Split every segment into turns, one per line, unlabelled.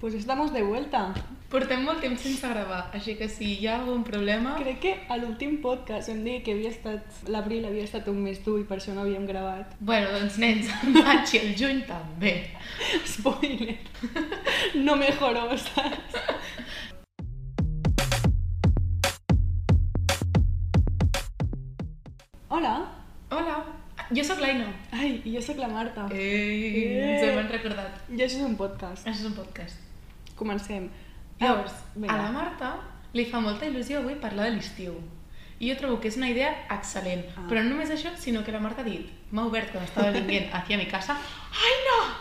Pues estamos de vuelta.
Portem molt temps sense gravar, així que si hi ha algun problema...
Crec que a l'últim podcast vam dir que havia estat l'abril havia estat un mes dur i per això no havíem gravat.
Bueno, doncs nens, el maig i el juny també.
Spoiler. No mejoró, saps? Hola.
Hola, jo sóc l'Aina.
Ai, i jo sóc la Marta.
Eh. Ei, ens
Ah. Eh.
hem recordat.
I això és un podcast.
Això és un podcast.
Comencem.
Llavors,
Ah, vinga.
a la Marta li fa molta il·lusió avui parlar de l'estiu. I jo trobo que és una idea excel·lent.
Ah.
Però no només això, sinó que la Marta ha dit, m'ha obert quan estava vinguent hacia mi casa, Aina,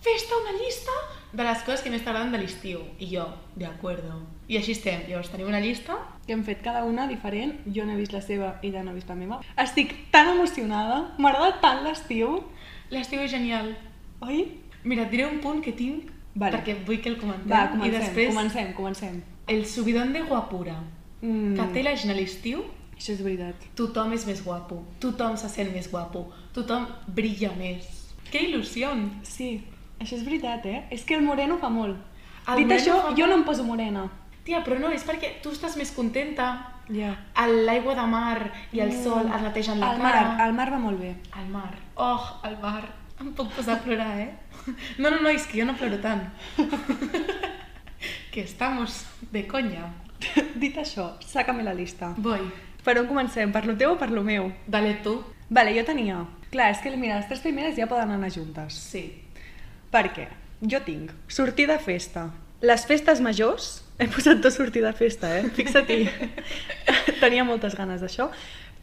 fes-te una llista de les coses que més t'agraden de l'estiu. I jo, d'acuerdo. I així estem. Llavors tenim una llista
que hem fet cada una diferent. Jo no he vist la seva, ella no ha vist la meva. Estic tan emocionada, m'agrada tant l'estiu.
L'estiu és genial.
Oi?
Mira, et diré un punt que tinc
Vale.
perquè vull que el comentem
Va, comencem,
i després
comencem, comencem.
el subidon de guapura
Mm,
mm. que té la gent a l'estiu,
Això és veritat.
tothom és més guapo, tothom se sent més guapo, tothom brilla més. Que il·lusió!
Sí, això és veritat, eh? És que el moreno fa molt.
El
Dit
moreno
això,
fa
jo
molt.
no em poso morena.
Tia, però no, és perquè tu estàs més contenta.
Ja.
El- L'aigua de mar i el sol et netegen la
el Mm. mar,
cara.
El mar va molt bé.
El mar. Oh, el bar. Em puc posar a plorar, eh? No, no, no, és que jo no ploro tant. que estamos de conya.
Dit això, saca'm la llista.
Voy.
Per on comencem? Per lo teu o per lo meu?
Dale tu.
Vale, jo tenia... Clar, és que mira, les tres primeres ja poden anar juntes.
Sí.
Per què? Jo tinc sortir de festa. Les festes majors, he posat tot sortir de festa, eh? Fixa-t'hi. Tenia moltes ganes d'això.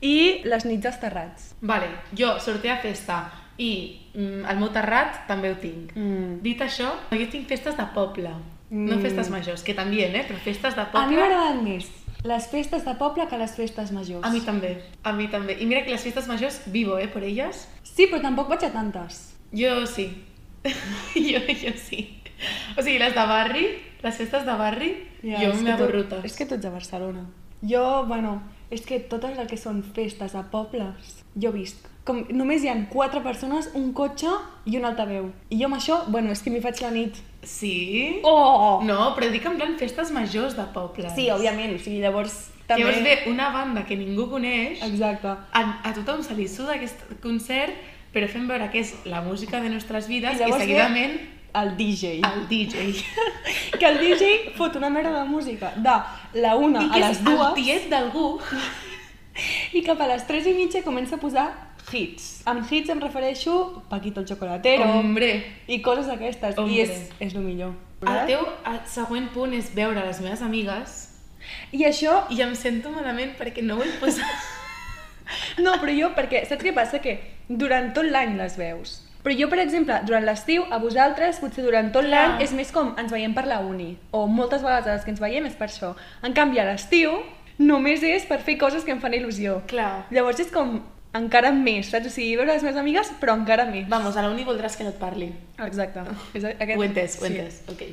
I les nits als terrats.
Vale, jo sortir a festa i mm, el meu terrat també ho tinc.
Mm.
Dit això, jo tinc festes de poble. No
Mm. Ah,
festes majors, que també, eh? Però festes de
A mi
poble...
m'agraden més les festes de poble que les festes majors.
a mi també, a mi també. I mira que les festes majors vivo, eh, per elles.
Sí, però tampoc vaig a tantes.
Jo sí. jo, jo sí. O sigui, les de barri, les festes de barri,
Ja,
jo
és que tu-
m'avorro tant.
És que tu ets a Barcelona. Jo, bueno, és que totes les que són festes a pobles, jo visc. Com, només hi han quatre persones, un cotxe i un altaveu. I jo amb això, bueno, és que m'hi faig la nit.
Sí?
Oh!
No, però dic en plan festes majors de poble.
Sí, òbviament, o sigui, llavors també...
Llavors ve una banda que ningú coneix,
Exacte.
a, a tothom se li suda aquest concert, però fem veure que és la música de nostres vides i,
llavors ve-
seguidament
El DJ.
el DJ.
Que el DJ fot una merda de música de la una
I
a
que és
les dues
el tiet d'algú.
i cap a les tres i mitja comença a posar hits. Amb hits em refereixo Paquito el Chocolatero
Hombre,
i coses d'aquestes. I
Hombre.
és, és el millor.
el teu el següent punt és veure les meves amigues
I això...
i em sento malament perquè no vull posar...
No, però jo, perquè saps què passa? Que durant tot l'any les veus. Però jo, per exemple, durant l'estiu, a vosaltres, potser durant tot
Clar.
l'any, és més com ens veiem per la uni. O moltes vegades a les que ens veiem és per això. En canvi, a l'estiu, només és per fer coses que em fan il·lusió.
Clar.
Llavors és com encara més, saps? O sigui, veure les meves amigues, però encara més.
Vamos, a la uni voldràs que no et parli.
Exacte. És a- aquest...
Ho he entès, ho he
sí.
entès. Ok.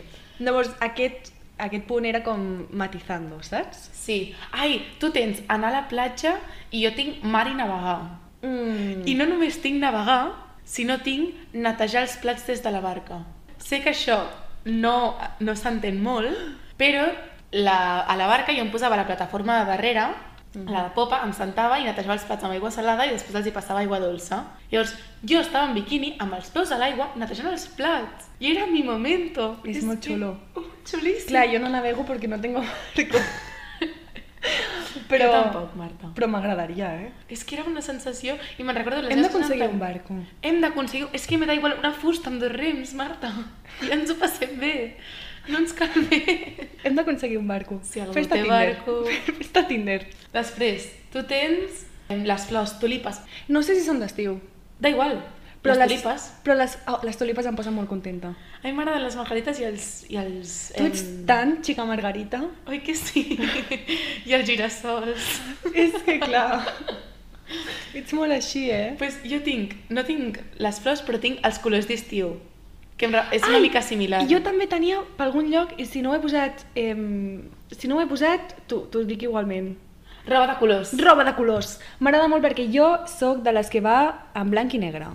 Llavors, aquest, aquest punt era com matizando, saps?
Sí. Ai, tu tens anar a la platja i jo tinc mar i navegar.
Mm.
I no només tinc navegar, sinó tinc netejar els plats des de la barca. Sé que això no, no s'entén molt, però la, a la barca jo em posava la plataforma de darrere,
Mhm.
la de popa, em sentava i netejava els plats amb aigua salada i després els hi passava aigua dolça. Llavors, jo estava en biquini amb els peus a l'aigua netejant els plats. I era mi momento.
És
És
molt
que-
xulo.
Uh, Xulíssim.
Clar, jo no navego perquè no tengo barco.
Jo
però...
tampoc, Marta.
Però m'agradaria, eh?
És que era una sensació, i me'n recordo... les
Hem
meves
d'aconseguir
cosines
un
em-
barco.
Hem d'aconseguir... És que m'he d'igual una fusta amb dos rems, Marta. I ens ho passem bé. No ens cal més.
Hem d'aconseguir un barco.
Si algú
Fes-te
té
Tinder.
barco.
Fes-te Tinder.
Després, tu tens les flors, tulipes.
No sé si són d'estiu.
Da igual,
Però
les, tulipes.
Però les, oh, les tulipes em posen molt contenta.
A mi m'agraden les margarites i els... I els
Tu ets
em,
tan xica margarita.
Oi que sí? I els girassols.
És que clar... Ets molt així, eh?
pues jo tinc, no tinc les flors, però tinc els colors d'estiu. Que em re- és una
Ai,
mica similar.
Jo també tenia per algun lloc, i si no ho he posat, eh, si no ho he posat, tu, t'ho dic igualment.
Roba de colors.
Roba de colors. M'agrada molt perquè jo sóc de
Hmm.
les que va en blanc i negre.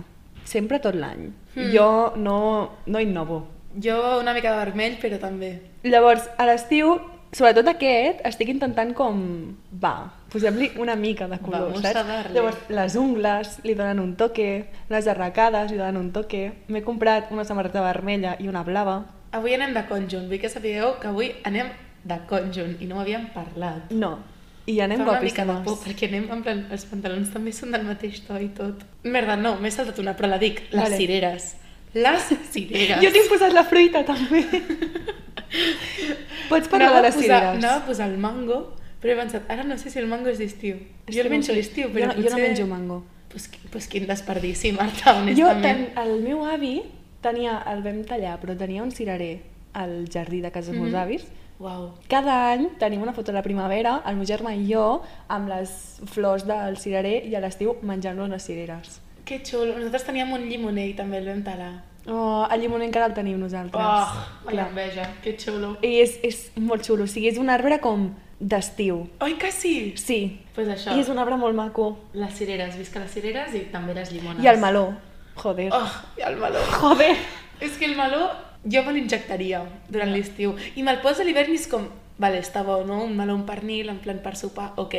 Sempre tot l'any. Jo no, no innovo.
Jo una mica de vermell, però també.
Llavors, a l'estiu, sobretot aquest, estic intentant com... Va, posem-li una mica de color,
Vamos
saps?
a darle.
Llavors, les ungles li donen un toque, les arracades li donen un toque. M'he comprat una samarreta vermella i una blava.
Avui anem de conjunt. Vull que sapigueu que avui anem de conjunt i no ho havíem parlat.
No. I anem
Fa una
guapis
mica de por, perquè anem en plan, els pantalons també són del mateix to i tot. Merda, no, m'he saltat una, però la dic, les
Vale.
cireres. Les cireres.
Jo tinc posat la fruita, també. Pots parlar de
Anava a
les
posar-
cireres.
Anava a posar el mango, però he pensat, ara no sé si el mango és d'estiu.
És
Jo
que
el
no
menjo
sé.
a l'estiu, però
jo, no-
potser...
Jo no menjo mango.
Pues, qui- pues quin desperdici, Marta,
Jo,
honestament.
ten, el meu avi tenia, el vam tallar, però tenia un cirerer al jardí de casa dels meus
Mhm.
avis.
Uau.
Cada any tenim una foto de la primavera, el meu germà i jo, amb les flors del cirerer i a l'estiu menjant-nos les cireres.
Que xulo. Nosaltres teníem un llimoner i també el vam talar.
Oh, el llimoner encara el tenim nosaltres.
Oh,
Clar.
la enveja. Que xulo.
I és, és molt xulo, o sigui, és un arbre com d'estiu.
Oi que sí?
Sí,
Pues això.
i és un arbre molt maco.
Les cireres, visca les cireres i també les llimones.
I el meló. Joder.
Oh, i el meló.
Joder.
És que el meló jo me l'injectaria durant l'estiu. I me'l poso a l'hivern i és com, vale, està bo, no? Un meló, un pernil, en plan per sopar, ok.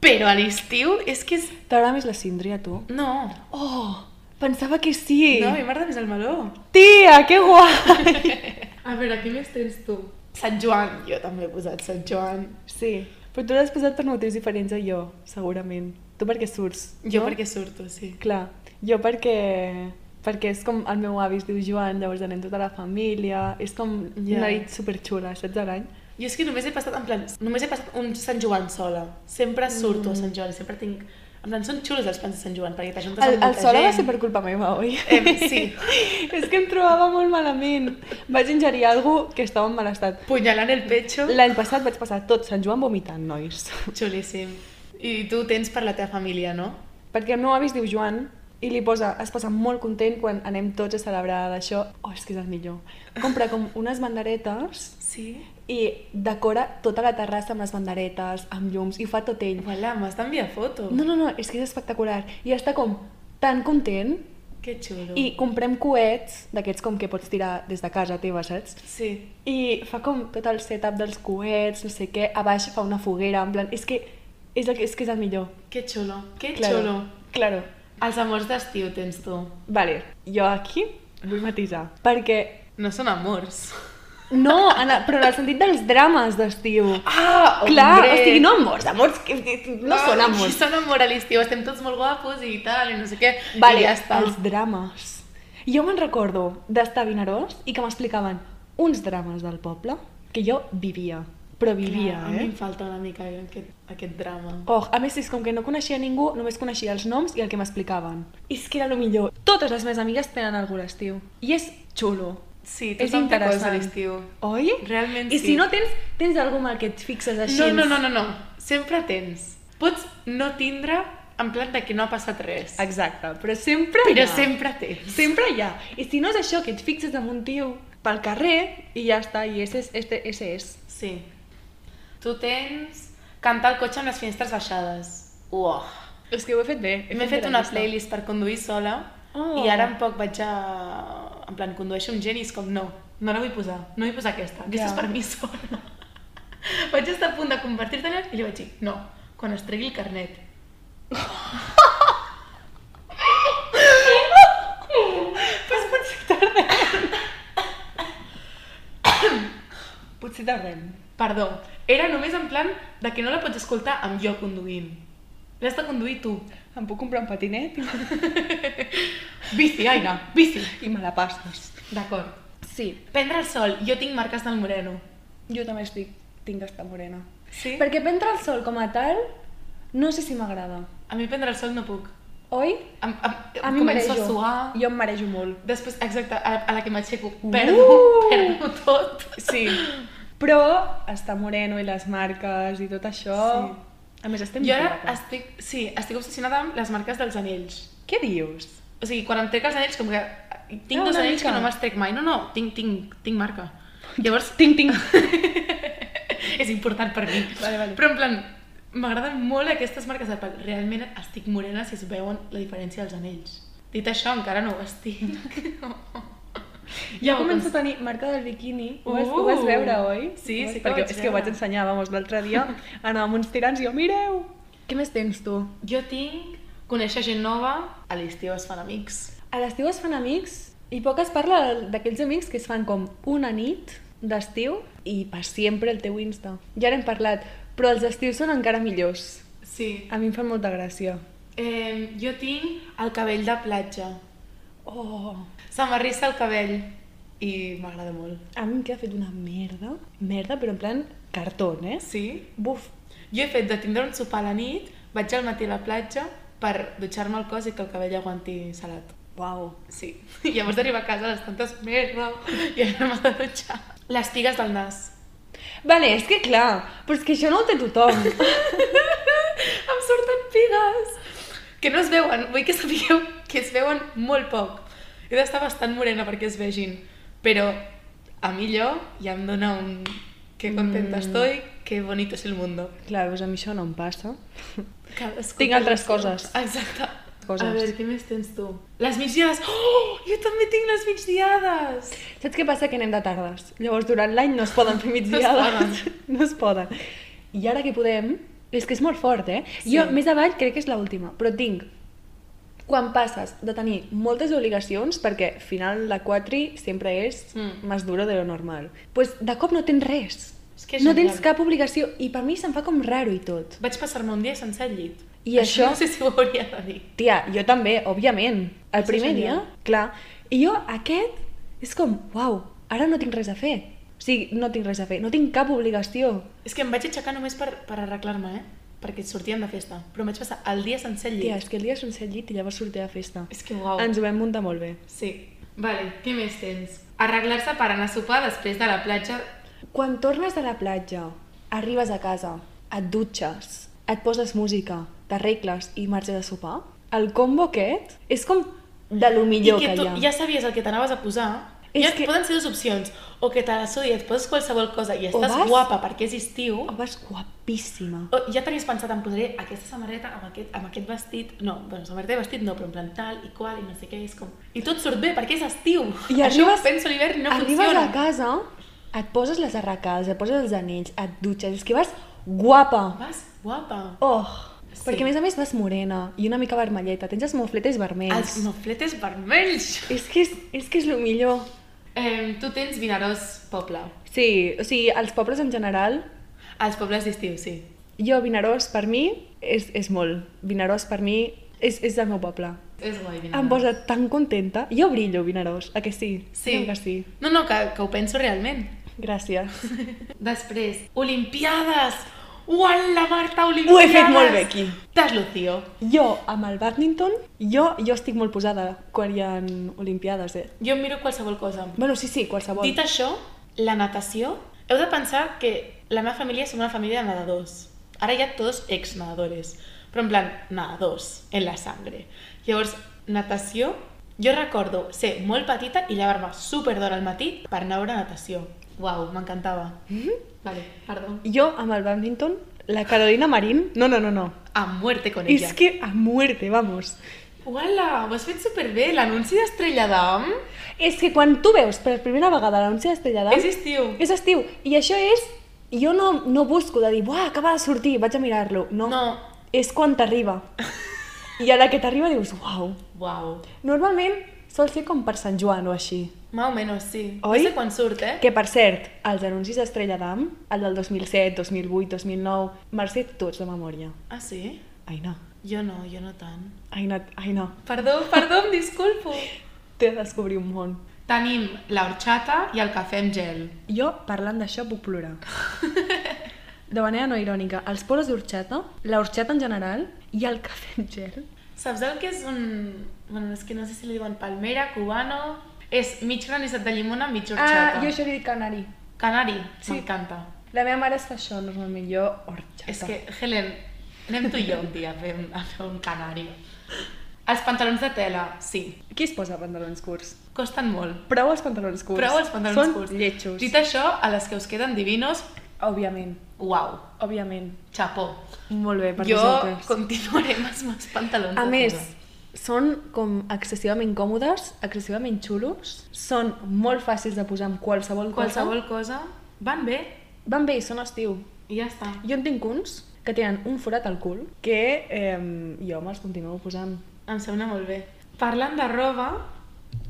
Però a l'estiu és que és...
T'agrada més la síndria, tu?
No.
Oh, pensava que sí.
No, a mi m'agrada més el meló.
Tia, que guai.
A veure, què més tens tu? Sant Joan. Jo també he posat Sant Joan.
Sí, però tu l'has posat per motius diferents a jo, segurament. Tu perquè surts.
Jo perquè surto, sí.
Clar, jo perquè... Perquè és com el meu avi es diu Joan, llavors anem tota la família, és com
Ja.
yeah. una nit superxula, saps de l'any?
Jo és que només he passat, en plan, només he passat un Sant Joan sola. Sempre
Mm.
surto a Sant Joan i sempre tinc... En plan, són xulos els plans de Sant Joan, perquè t'ajuntes
El,
amb molta
el sol
gent.
va ser per culpa meva, oi?
Em, sí.
és que em trobava molt malament. Vaig ingerir algú que estava en mal estat.
Punyalant el pecho.
L'any passat vaig passar tot Sant Joan vomitant, nois.
Xulíssim. I tu tens per la teva família, no?
Perquè el meu avi es diu Joan i li posa, es posa molt content quan anem tots a celebrar d'això. Oh, és que és el millor. Compra com unes banderetes
Sí.
i decora tota la terrassa amb les banderetes, amb llums, i ho fa tot ell.
Uala, m'has d'enviar foto.
No, no, no, és que és espectacular. I està com tan content
Que xulo.
i comprem coets d'aquests com que pots tirar des de casa teva, saps?
Sí.
I fa com tot el setup dels coets, no sé què, a baix fa una foguera, en plan, és que és, el, que- és, que és el millor.
Que xulo. Que
Claro,
xulo.
Claro.
Els amors d'estiu tens tu.
Vale, jo aquí vull matisar, perquè
No són amors.
no, en el, però en el sentit dels drames d'estiu.
Ah,
Clar, o sigui, no amors, amors que, que, que no són amors.
Són amor a l'estiu, estem tots molt guapos i tal, i no sé què.
Vale,
I ja està.
els drames. Jo me'n recordo d'estar a Vinaròs i que m'explicaven uns drames del poble que jo vivia, però vivia,
Clar, A mi
eh?
em falta una mica eh, aquest, aquest drama.
Oh, a més, és com que no coneixia ningú, només coneixia els noms i el que m'explicaven. És que era el millor. Totes les meves amigues tenen algú a l'estiu. I és xulo.
Sí,
És
tothom té coses
interessant.
a l'estiu.
Oi?
Realment
I
sí.
si no tens, tens algú amb el que et fixes així?
No, no, no, no, no. Sempre tens. Pots no tindre en plan de que no ha passat res.
Exacte, però sempre
Però
hi ha.
sempre tens.
Sempre hi ha. I si no és això, que et fixes en un tio pel carrer i ja està, i ese és, este, ese és.
Sí. Tu tens cantar al cotxe amb les finestres baixades. Uah.
És que ho he fet bé.
M'he fet una playlist per conduir sola
Oh.
i ara en poc vaig a... En plan, condueixo amb gent i és com, no, no la vull posar, no vull posar aquesta,
Ja.
aquesta és per mi sola. vaig estar a punt de convertir-te-la i li vaig dir, no, quan es tregui el carnet.
Pues potser tardem. potser tardem.
Perdó, era només en plan de que no la pots escoltar amb jo conduint. L'has de conduir tu.
Em puc comprar un patinet i me-
Bici, Aina, bici.
i me la passes.
D'acord.
Sí,
Prendre el sol, jo tinc marques del moreno.
jo també estic, tinc estar morena.
Sí?
Perquè prendre el sol com a tal, no sé si m'agrada.
A mi prendre el sol no puc.
Oi?
Em, em,
A
em
mi em
començo
marejo.
a suar.
Ah, Jo em marejo molt.
Després, exacte, a, a la que m'aixeco,
Uh!
perdo, perdo tot.
Sí. Però estar moreno i les marques i tot això...
Sí.
A més, estem
Jo ara
guapes.
estic, sí, estic obsessionada amb les marques dels anells.
Què dius?
O sigui, quan em trec els anells, com que tinc
Ah,
dos
una
anells
mica.
que no me'ls trec mai. No, no, tinc, tinc, tinc marca. Llavors,
Tinc, tinc.
és important per mi.
Vale, vale.
Però en plan, m'agraden molt aquestes marques de pèl. Realment estic morena si es veuen la diferència dels anells. Dit això, encara no ho estic.
Ja
Ja ho
començo a
cons-
tenir marca del biquini. Ho vas, ho vas
Uh!
veure, oi?
Sí,
Ho vas-
sí que ho
Perquè
vaig
és que ho vaig
veure.
ensenyar, vamos, l'altre dia. Anava amb uns tirants i jo, mireu! Què més tens tu?
Jo tinc conèixer gent nova, a l'estiu es fan amics.
A l'estiu es fan amics i poc es parla d'aquells amics que es fan com una nit d'estiu i per sempre el teu Insta. Ja n'hem parlat, però els estius són encara millors.
Sí.
A mi em fan molta gràcia.
Eh, jo tinc el cabell de platja.
Oh,
Se m'arrissa el cabell i m'agrada molt.
a mi em queda fet una merda. Merda, però en plan cartón, eh?
Sí?
Buf,
Jo he fet de tindre un sopar a la nit, vaig al matí a la platja per dutxar-me el cos i que el cabell aguanti salat.
uau.
Sí. I llavors d'arribar a casa a les tantes merda i anar-me a dutxar. Les tigues del nas.
Vale, és que clar, però és que això no ho té tothom.
Em surten pigues! Que no es veuen, vull que sapigueu que es veuen molt poc. He d'estar bastant morena perquè es vegin, però a mi jo ja em dóna un... Que contenta
Mm.
estoy, que bonito es el mundo.
clar, veus, a mi això no em passa.
Cadascú
Tinc
per
altres
les seves.
coses.
Exacte.
Coses.
A veure, què més tens tu? Les migdiades! Oh! Jo també tinc les migdiades!
Saps què passa? Que anem de tardes. Llavors, durant l'any no es poden fer
No
migdiades.
es
No es poden. I ara que podem... És que és molt fort, eh?
Sí.
Jo, més avall, crec que és l'última, però tinc... Quan passes de tenir moltes obligacions, perquè final de quatri sempre és
Mm.
més duro de lo normal, pues de cop no tens res.
És que és
no
genial.
tens cap obligació i per mi se'm fa com raro i tot.
Vaig passar-me un dia sense al llit.
I això-
No sé si ho hauria de dir.
Tia, jo també, òbviament. El
Això
primer
és
dia,
genial.
clar. I jo, aquest, és com, uau, ara no tinc res a fer. O sigui, no tinc res a fer, no tinc cap obligació.
És que em vaig aixecar només per, per arreglar-me, eh? Perquè sortíem de festa. Però em vaig passar el dia sense al llit.
Tia, és que el dia sense el llit i llavors sortir de festa.
És que uau.
Ens ho vam muntar molt bé.
Sí. Vale, què més tens? Arreglar-se per anar a sopar després de la platja.
Quan tornes de la platja, arribes a casa, et dutxes, et poses música, t'arregles i marxes a sopar, el combo aquest és com de lo millor
I que,
que,
tu
hi ha.
ja sabies el que t'anaves a posar.
És
És ja
que-
que... poden ser dues opcions. O que te la sudi i et poses qualsevol cosa i
O
estàs
vas-
guapa perquè és estiu.
Oh, vas guapíssima.
O ja tenies pensat, em posaré aquesta samarreta amb aquest, amb aquest vestit... No, bueno, samarreta i vestit no, però en plan tal i qual i no sé què, és com... I tot surt bé perquè és estiu.
I
Això
arribes,
penso a l'hivern no
arribes
funciona.
a casa, et poses les arracades, et poses els anells, et dutxes, és que vas guapa.
Vas guapa.
Oh,
Sí.
sí. perquè a més a més vas morena i una mica vermelleta, tens els mofletes vermells.
Els mofletes vermells.
És que és, és que és el millor.
Eh, tu tens Vinaròs poble.
Sí, o sigui, els pobles en general,
Els pobles d'estiu, sí.
jo Vinaròs per mi és, és molt. Vinaròs per mi és, és el meu poble.
És guai, Vinaròs.
Em posa tan contenta. Jo brillo, Vinaròs, a que sí?
Sí.
Digue'm que sí.
No, no, que, que ho penso realment.
Gràcies.
Després, Olimpiades! Uala, Marta, Olimpiades!
Ho he fet molt bé aquí.
T'has lucio.
Jo, amb el badminton, jo, jo estic molt posada quan hi ha olimpiades, eh?
Jo em miro qualsevol cosa.
Bueno, sí, sí, qualsevol.
Dit això, la natació... Heu de pensar que la meva família som una família de nedadors. Ara ja tots ex-nedadores. Però en plan, nedadors, en la sangre. Llavors, natació... Jo recordo ser molt petita i llevar-me super d'hora al matí per anar a veure natació. Uau, m'encantava. Mm -hmm. Vale, perdó.
Jo, amb el badminton, la Carolina Marín... No, no, no, no.
A muerte con ella.
És que a muerte, vamos.
Uala, ho has fet superbé. L'anunci d'Estrella d'Am
És que quan tu veus per primera vegada l'anunci d'Estrella d'Am...
és estiu.
És estiu. I això és... Jo no, no busco de dir, buah, acaba de sortir, vaig a mirar-lo. No.
No.
És quan t'arriba. I a la que t'arriba dius, uau.
Uau.
Normalment sol ser com per Sant Joan o així.
Más o menos, sí.
Oi?
No sé quan surt, eh?
Que, per cert, els anuncis d'Estrella d'Am, el del 2007, 2008, 2009, me'ls sé tots de memòria.
Ah, sí?
Ai, no.
Jo no, jo no tant.
Ai, no. Ai, no.
Perdó, perdó, em disculpo.
T'he de descobrir un món.
Tenim la horchata i el cafè amb gel.
Jo, parlant d'això, puc plorar. De manera no irònica, els poros d'orxata, l'orxata en general i el cafè en gel.
Saps el que és un... Bueno, és que no sé si li diuen palmera, cubano... És mig granissat de llimona, mig horchata.
Ah, jo això li dic canari.
Canari,
Sí.
sí. m'encanta.
La meva mare es fa això normalment, jo orxata.
És que, Helen, anem tu i jo un dia a fer un, a fer un canari. Els pantalons de tela, sí,
Qui es posa pantalons curts?
costen molt.
Prou els pantalons curts.
Prou els pantalons
Són
curts.
Són lletjos.
Dit això, a les que us queden divinos,
Òbviament,
uau,
òbviament.
xapó.
Molt bé, per
Jo
vosaltres.
continuaré amb els meus pantalons.
A
de
més,
tela.
són com excessivament còmodes, excessivament xulos, són molt fàcils de posar amb qualsevol,
Qualsevol cosa, van bé
cosa. Van bé i són estiu.
i ja està.
Jo en tinc uns que tenen un forat al cul que eh, jo me'ls continuo posant.
Em sembla molt bé. Parlant de roba,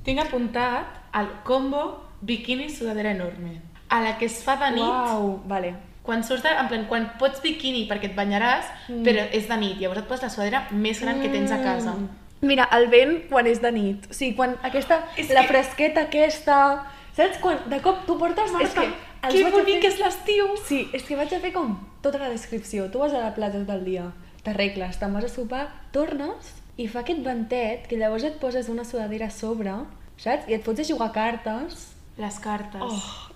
tinc apuntat el combo biquini sudadera enorme. A la que es fa de nit,
Uau, vale.
quan surts de, en plan, quan pots biquini perquè et banyaràs,
Mm.
però és de nit, llavors et poses la sudadera més gran que tens a casa.
Mm. Mira, el vent quan és de nit. O sigui, quan aquesta...
És
la
que-
fresqueta aquesta... Saps? Quan de cop tu portes...
Marta,
és que els
que
vaig a
bonic
fer-
que és l'estiu!
Sí, és que vaig a fer com tota la descripció. Tu vas a la platja tot el dia, t'arregles, te'n vas a sopar, tornes i fa aquest ventet que llavors et poses una sudadera a sobre, saps? I et fots a jugar a cartes.
Les cartes.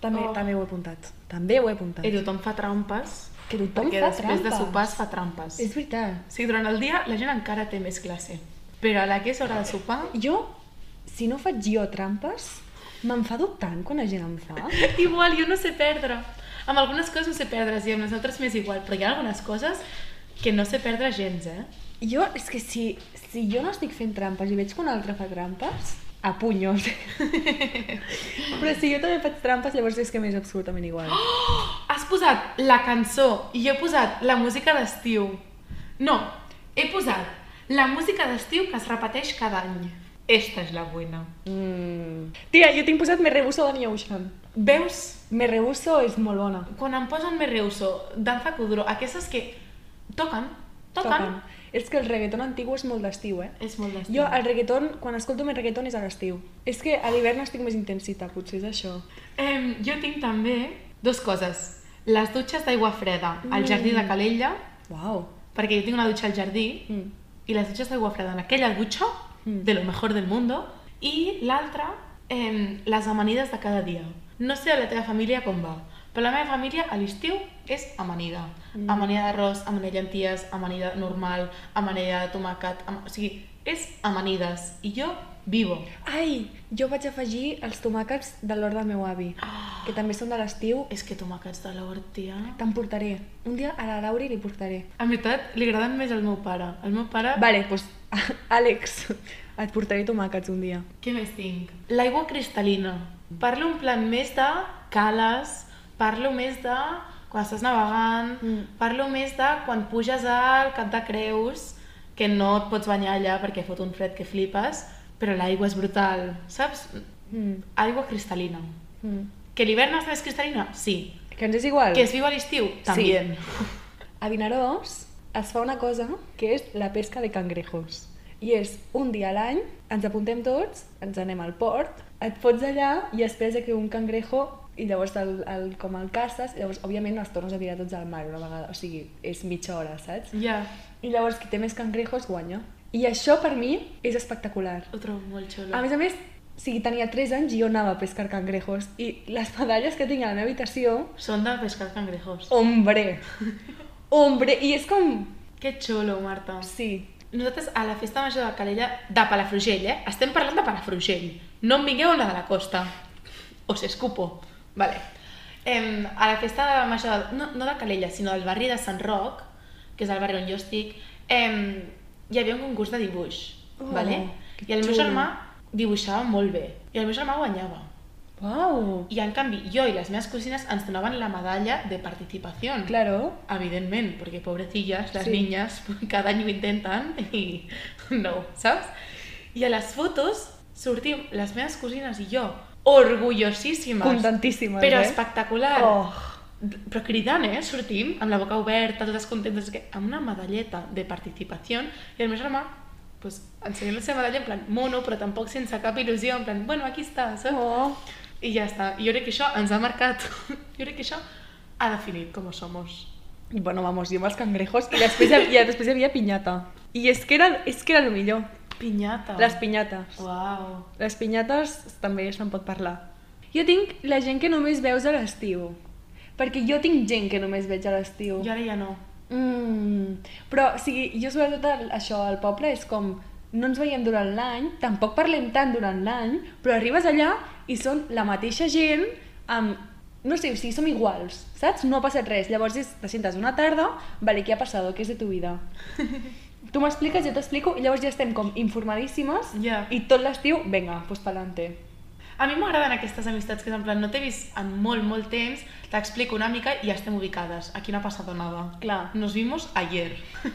també,
Oh.
també ho he apuntat. També ho he apuntat.
I tothom fa trampes.
Que tothom
perquè
fa
després
trampes.
de sopar es fa trampes.
És veritat.
Sí, durant el dia la gent encara té més classe. Però a la que és hora de sopar...
Jo, si no faig jo trampes, m'enfado tant quan la gent em fa.
Igual, jo no sé perdre. Amb algunes coses no sé perdre, i amb les altres m'és igual, però hi ha algunes coses que no sé perdre gens, eh?
Jo, és que si, si jo no estic fent trampes i veig que un altre fa trampes, a punyos. Però si jo també faig trampes, llavors és que m'és absolutament igual.
Has posat la cançó i jo he posat la música d'estiu. No, he posat la música d'estiu que es repeteix cada any. Esta és la buena.
Mm. Tia, jo tinc posat Me Rebuso de New Ocean.
Veus?
Me Rebuso és molt bona.
Quan em posen més reuso, danza kuduro, aquestes que toquen, toquen, toquen.
És que el reggaeton antigu és molt d'estiu, eh?
és molt d'estiu.
Jo, el reggaeton, quan escolto més reggaeton és a l'estiu. És que a l'hivern estic més intensita, potser és això.
Em, jo tinc també dues coses. Les dutxes d'aigua freda al
Mm.
jardí de Calella,
Uau.
perquè jo tinc una dutxa al jardí,
Mm.
i les dutxes d'aigua freda en aquella dutxa,
Mm.
de lo mejor del mundo, i l'altra, em, les amanides de cada dia. No sé a la teva família com va, però la meva família a l'estiu és amanida.
Mm.
Amanida d'arròs, amanida de llenties, amanida normal, amanida de tomàquet... Am... O sigui, és amanides. I jo vivo.
Ai, jo vaig afegir els tomàquets de l'hort del meu avi, que també són de l'estiu.
Ah, És que tomàquets de l'hort, tia...
Te'n portaré. Un dia a la Lauri li portaré.
En veritat, li agraden més al meu pare. El meu pare...
Vale, doncs, pues, Àlex, et portaré tomàquets un dia.
Què més tinc? L'aigua cristal·lina. Parlo un plan més de cales, parlo més de quan estàs navegant,
Mm.
parlo més de quan puges al cap de creus, que no et pots banyar allà perquè fot un fred que flipes, però l'aigua és brutal, saps?
Mm.
Aigua cristal·lina.
Mm.
Que l'hivern està més cristal·lina? Sí.
Que ens és igual.
Que es viu a l'estiu? També.
A Vinaròs es fa una cosa que és la pesca de cangrejos. I és un dia a l'any, ens apuntem tots, ens anem al port, et fots allà i esperes a que un cangrejo i llavors el, el, com el caces, i llavors òbviament els tornes a tirar tots al mar una vegada, o sigui, és mitja hora, saps?
Ja,
I llavors qui té més cangrejos guanya. I això per mi és espectacular.
ho trobo molt xulo.
A més a més, o sigui, tenia 3 anys i jo anava a pescar cangrejos i les medalles que tinc a Oh. la meva habitació,
Són de pescar cangrejos.
hombre, hombre, i és com...
Que xulo, Marta.
Sí,
Nosaltres a la festa major de Calella de Palafrugell, eh? Estem parlant de Palafrugell. No em vingueu una de la costa. Os escupo. Vale. Em, a la festa de major, de, no, no de Calella, sinó del barri de Sant Roc, que és el barri on jo estic, em, hi havia un concurs de dibuix.
Oh,
vale?
que
I el meu
xulo.
germà dibuixava molt bé. I el meu germà guanyava.
Wow.
I en canvi, jo i les meves cosines ens donaven la medalla de participació.
Claro.
Evidentment, perquè pobrecillas, les
Sí.
sí. niñas, cada any ho intenten i no, saps? I a les fotos sortim les meves cosines i jo, orgullosíssimes,
Contentíssimes,
però
eh?
espectacular,
Oh.
però cridant, eh? Sortim amb la boca oberta, totes contentes, que- amb una medalleta de participació i el meu germà pues, ensenyant la seva medalla en plan mono, però tampoc sense cap il·lusió, en plan, bueno, aquí està, saps?
Oh.
I ja està. I jo crec que això ens ha marcat. jo crec que això ha definit com somos.
I bueno, vamos, jo amb els cangrejos i després, hi ha- i després hi havia pinyata. I és que era, és que era el millor.
Pinyata.
Les pinyates.
Uau.
Les pinyates també se'n pot parlar. Jo tinc la gent que només veus a l'estiu. Perquè jo tinc gent que només veig a l'estiu.
I ara ja no.
Mm, però, o sigui, jo sobretot el, això al poble és com no ens veiem durant l'any, tampoc parlem tant durant l'any, però arribes allà i són la mateixa gent amb... No sé, o sigui, som iguals, saps? No ha passat res. Llavors és, te sentes una tarda, vale, què ha passat? Què és de tu vida? Tu m'expliques, jo t'explico, i llavors ja estem com informadíssimes
Ja.
i tot l'estiu, venga, pues pa'lante.
A mi m'agraden aquestes amistats que és en plan, no t'he vist en molt, molt temps, t'explico una mica i ja estem ubicades. Aquí no ha passat nada.
Clar.
Nos vimos ayer.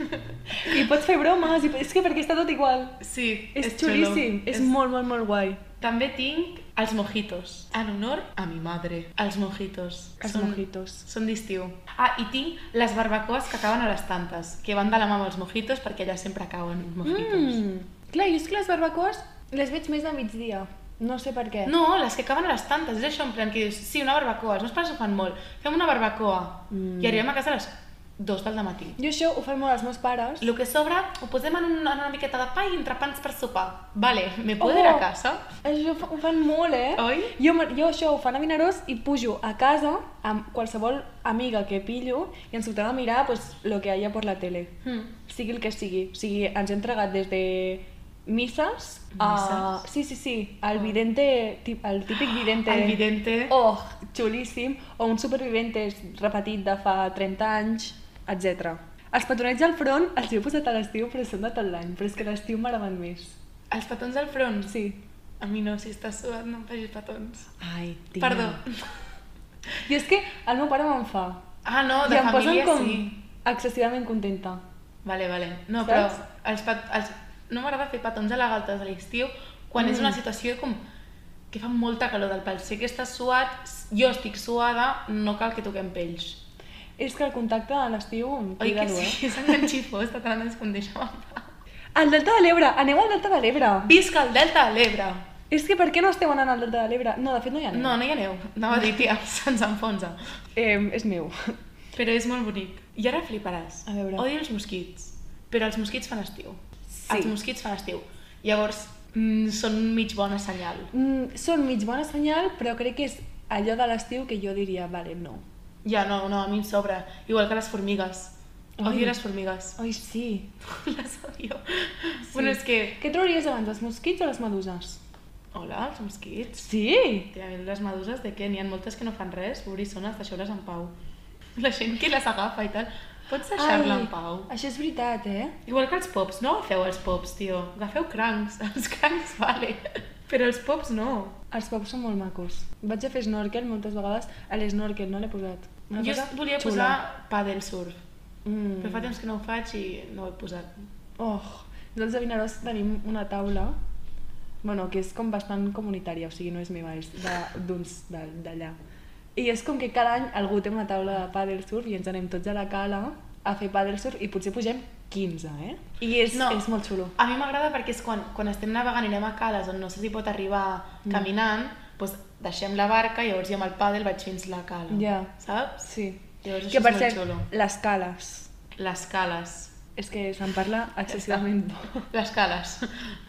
I pots fer bromes, i és que perquè està tot igual.
Sí,
És,
xulo.
xulíssim, és,
És-
molt, molt, molt guai.
També tinc els mojitos, en honor a mi madre. Els mojitos.
Els mojitos.
Són d'estiu. Ah, i tinc les barbacoes que acaben a les tantes, que van de la mà amb els mojitos perquè allà sempre acaben els mojitos.
Mm. Clar, jo és que les barbacoes les veig més de migdia. No sé per què.
No, les que acaben a les tantes, és això, en plan que dius, sí, una barbacoa, els meus pares ho fan molt, fem una barbacoa
Mm.
i arribem a casa a les 2 del matí.
Jo això ho fan molt els meus pares.
Lo que sobra ho posem en, un, en una miqueta de pa i entrepans per sopar. Vale, me puedo
Oh.
ir a casa?
Això fa- ho fan molt, eh?
Oi?
Jo, me- jo això ho fan a Vinaròs i pujo a casa amb qualsevol amiga que pillo i ens fotem a mirar pues, lo que haya por la tele.
Mm.
Sigui el que sigui. O sigui, ens hem tragat des de misses a...
Misses?
Sí, sí, sí. El vidente, tip- el típic vidente.
El vidente.
Oh, xulíssim. O un supervivente repetit de fa 30 anys, etc. Els petonets al front els he posat a l'estiu, però són de tot l'any. Però és que a l'estiu m'agraden més.
Els petons al front?
Sí.
A mi no, si estàs sudat no em facis petons.
Ai, tia.
Perdó.
I és que el meu pare me'n fa.
Ah, no,
I
de
em posen
família
com
sí.
excessivament contenta.
Vale, vale. No,
Saps?
però els pet... els... no m'agrada fer petons a la galta de l'estiu quan és
Mm.
una situació com que fa molta calor del pèl. Sé que estàs suat, jo estic suada, no cal que toquem pells.
És que el contacte a l'estiu em
Oi
cuida
que
dur,
sí? És enganxifós, de tant ens condeixem en pau.
eh? Al Delta de l'Ebre! Aneu al Delta de l'Ebre!
Visca el Delta de l'Ebre!
És que per què no esteu anant al Delta de l'Ebre? No, de fet no hi anem.
No, no hi aneu. Anava a dir, tia, se'ns enfonsa.
Eh, és meu.
Però és molt bonic. I ara fliparàs.
A veure.
Odio els mosquits, però els mosquits fan estiu.
Sí.
Els mosquits fan estiu. Llavors, mm, són mig bona senyal.
Mm, són mig bona senyal, però crec que és allò de l'estiu que jo diria, vale, no.
Ja, no, no, a mi em sobra. Igual que les formigues. Odio
Ai.
les formigues.
Ai, sí.
les odio. Bueno, és que...
Què trauries abans, els mosquits o les meduses?
Hola, els mosquits.
Sí!
Tia, a mi les meduses de què? N'hi ha moltes que no fan res, pobrissones, deixeu-les en pau. La gent que les agafa i tal, pots deixar-la
Ai,
en pau.
Això és veritat, eh?
Igual que els pops, no agafeu els pops, tio. Agafeu crancs. Els crancs, vale. Però els pops no.
Els pops són molt macos. Vaig a fer snorkel moltes vegades, a l'esnorkel no l'he posat. Una
jo
cosa
volia
xula.
posar paddle surf,
Mm.
però fa temps que no ho faig i no ho he posat.
Oh, nosaltres a Vinaròs tenim una taula bueno, que és com bastant comunitària, o sigui, no és meva, és de- d'uns de- d'allà. I és com que cada any algú té una taula de paddle surf i ens anem tots a la cala a fer paddle surf i potser pugem 15, eh? I és,
No.
és molt xulo.
A mi m'agrada perquè és quan, quan estem navegant i anem a cales on no sé si pot arribar
Mm.
caminant, doncs deixem la barca i llavors jo amb el paddle vaig fins la cala.
Ja.
Saps?
Sí.
Llavors això
que per
és molt
cert,
xulo.
les cales.
Les cales.
És que se'n parla excessivament poc.
Les cales.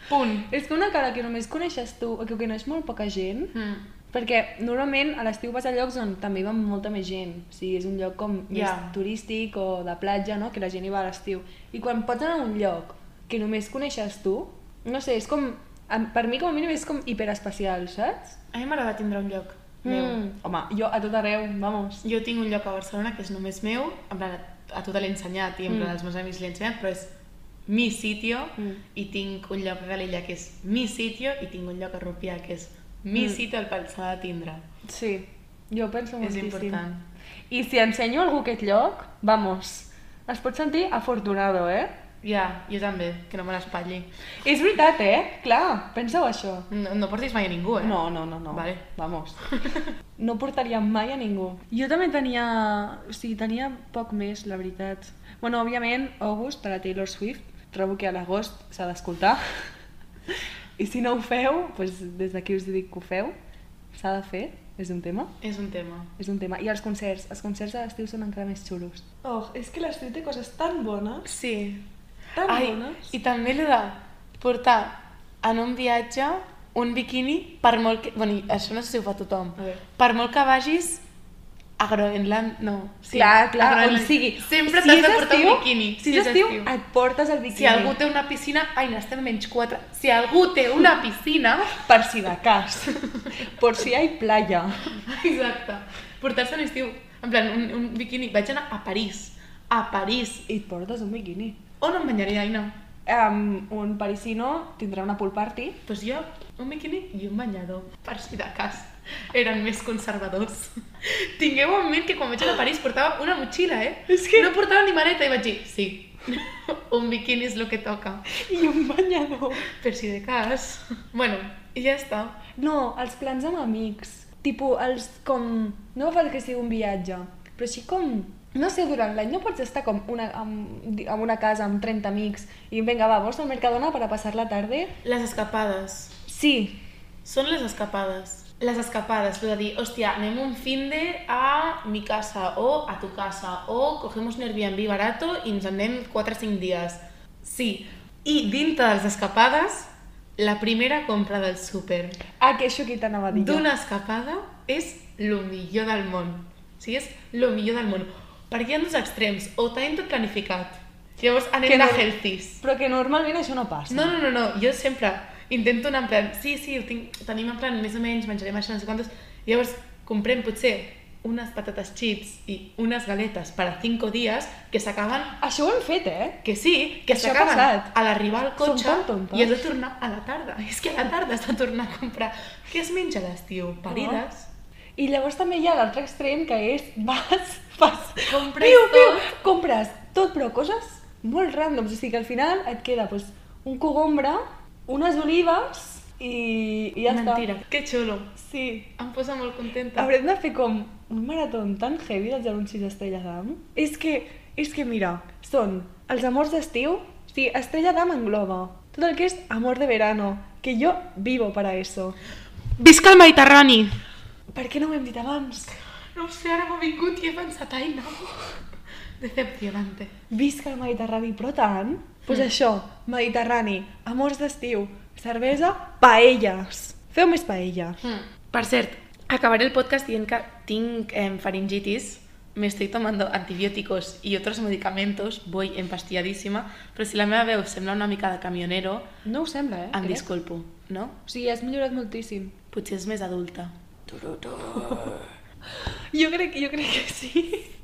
Punt.
És que una cala que només coneixes tu, o que coneix molt poca gent,
Mm.
Perquè normalment a l'estiu vas a llocs on també hi va molta més gent. O sigui, és un lloc com yeah.
Ja.
més turístic o de platja, no? Que la gent hi va a l'estiu. I quan pots anar a un lloc que només coneixes tu, no sé, és com... em- Per mi com a mínim és com hiperespecial, saps?
A mi m'agrada tindre un lloc meu.
Mm. Home, jo a tot arreu, vamos.
Jo tinc un lloc a Barcelona que és només meu, en plan, a- a tota l'he ensenyat i en plan,
Mm.
els meus amics l'he ensenyat, però és mi sitio
Mm.
i tinc un lloc a Galella que és mi sitio i tinc un lloc a Rupià que és mi
Mm.
sitio al qual s'ha de tindre.
Sí, jo penso
És
moltíssim.
important.
I si ensenyo a algú aquest lloc, vamos, es pot sentir afortunado, eh?
Ja, jo també, que no me l'espatlli.
És veritat, eh? Clar, penseu això.
No, no portis mai a ningú, eh?
No, no, no, no.
Vale.
Vamos. No portaria mai a ningú. Jo també tenia... O sigui, tenia poc més, la veritat. Bueno, òbviament, August, de la Taylor Swift. Trobo que a l'agost s'ha d'escoltar. I si no ho feu, doncs des d'aquí us dic que ho feu. S'ha de fer, és un tema.
És un tema.
És un tema. I els concerts. Els concerts a l'estiu són encara més xulos. Oh, és que l'estiu té coses tan bones.
Sí.
Tan
Ai,
bones.
i també l'he de portar en un viatge un biquini per molt que... Bueno, això no sé si ho fa tothom.
A veure.
Per molt que vagis a Groenland, no.
clar, clar,
a
on
Groenlàndia.
sigui.
Sempre
Si
t'has
és
de portar
estiu,
un biquini.
Si és estiu, et portes el biquini.
Si algú té una piscina... Ai, n'estem a menys 4. Si algú té una piscina...
Per si de cas. Por si hay playa.
Exacte. Portar-se en estiu. En plan, un, un biquini. Vaig anar a París. A París.
I et portes un biquini.
On em banyaré, Aina?
Um, un parisino tindrà una pool party.
Doncs jo, un biquini i un banyador, per si de cas. Eren més conservadors. Tingueu en ment que quan vaig anar a París portava una motxilla, eh?
És que-
No portava ni maleta i vaig dir, sí, un biquini és el que toca.
I un banyador.
Per si de cas. Bueno, i ja està.
No, els plans amb amics. Tipo, els com... No perquè sigui un viatge, però així com... No sé, durant l'any no pots estar com una, amb, di- amb una casa amb 30 amics i vinga, va, vamos al Mercadona para passar la tarde?
Les escapades.
Sí,
Són les escapades. Les escapades, és a dir, hòstia, anem un finde a mi casa o a tu casa o cogemos un Airbnb barato i ens en anem 4 o 5 dies. Sí, i dintre de les escapades, la primera compra del súper
ah, que això aquí t'anava a dir jo.
d'una escapada és lo millor del món. O sigui, és lo millor del món. Perquè hi ha dos extrems, o tenim tot planificat, llavors anem
Que
de
no-
healthies.
Però que normalment això no passa.
No, no, no, no, jo sempre intento anar en plan, sí, sí, ho tinc, tenim en plan més o menys, menjarem això, no sé quantos, i llavors comprem potser unes patates chips i unes galetes per a 5 dies que s'acaben,
Això ho hem fet, eh?
que sí, que
Això ha
s'acaben
passat.
a l'arribar al
Són
cotxe
tan tontes.
i has de tornar a la tarda. És que a la tarda has de tornar a comprar. Què es menja a l'estiu? Parides?
I llavors també hi ha l'altre extrem que és vas, fas,
Compres tot.
compres tot però coses molt randoms, o sigui que al final et queda doncs, un cogombre, unes olives i, i ja
Mentira, que xulo.
està. Sí.
Em posa molt contenta.
Haurem de fer com un marató tan heavy dels 06 Estrella d'Am. És que, és que mira, són els amors d'estiu, o sigui, Estrella d'Am engloba tot el que és amor de verano, que jo vivo para eso.
Visca el Mediterrani!
Per què no ho hem dit abans?
No ho sé, ara m'ha vingut i he pensat, ai no. Decepcionante.
Visca el Mediterrani, però tant. Doncs pues això, Mediterrani, amors d'estiu, cervesa, paelles. Feu més paella.
Mm. Per cert, acabaré el podcast dient que tinc eh, faringitis, me estoy tomando antibióticos y otros medicamentos, voy empastilladísima, però si la meva veu sembla una mica de camionero,
No ho sembla, eh?
em disculpo, no?
O sigui, has millorat moltíssim.
Potser és més adulta.
Jo crec, jo crec que sí.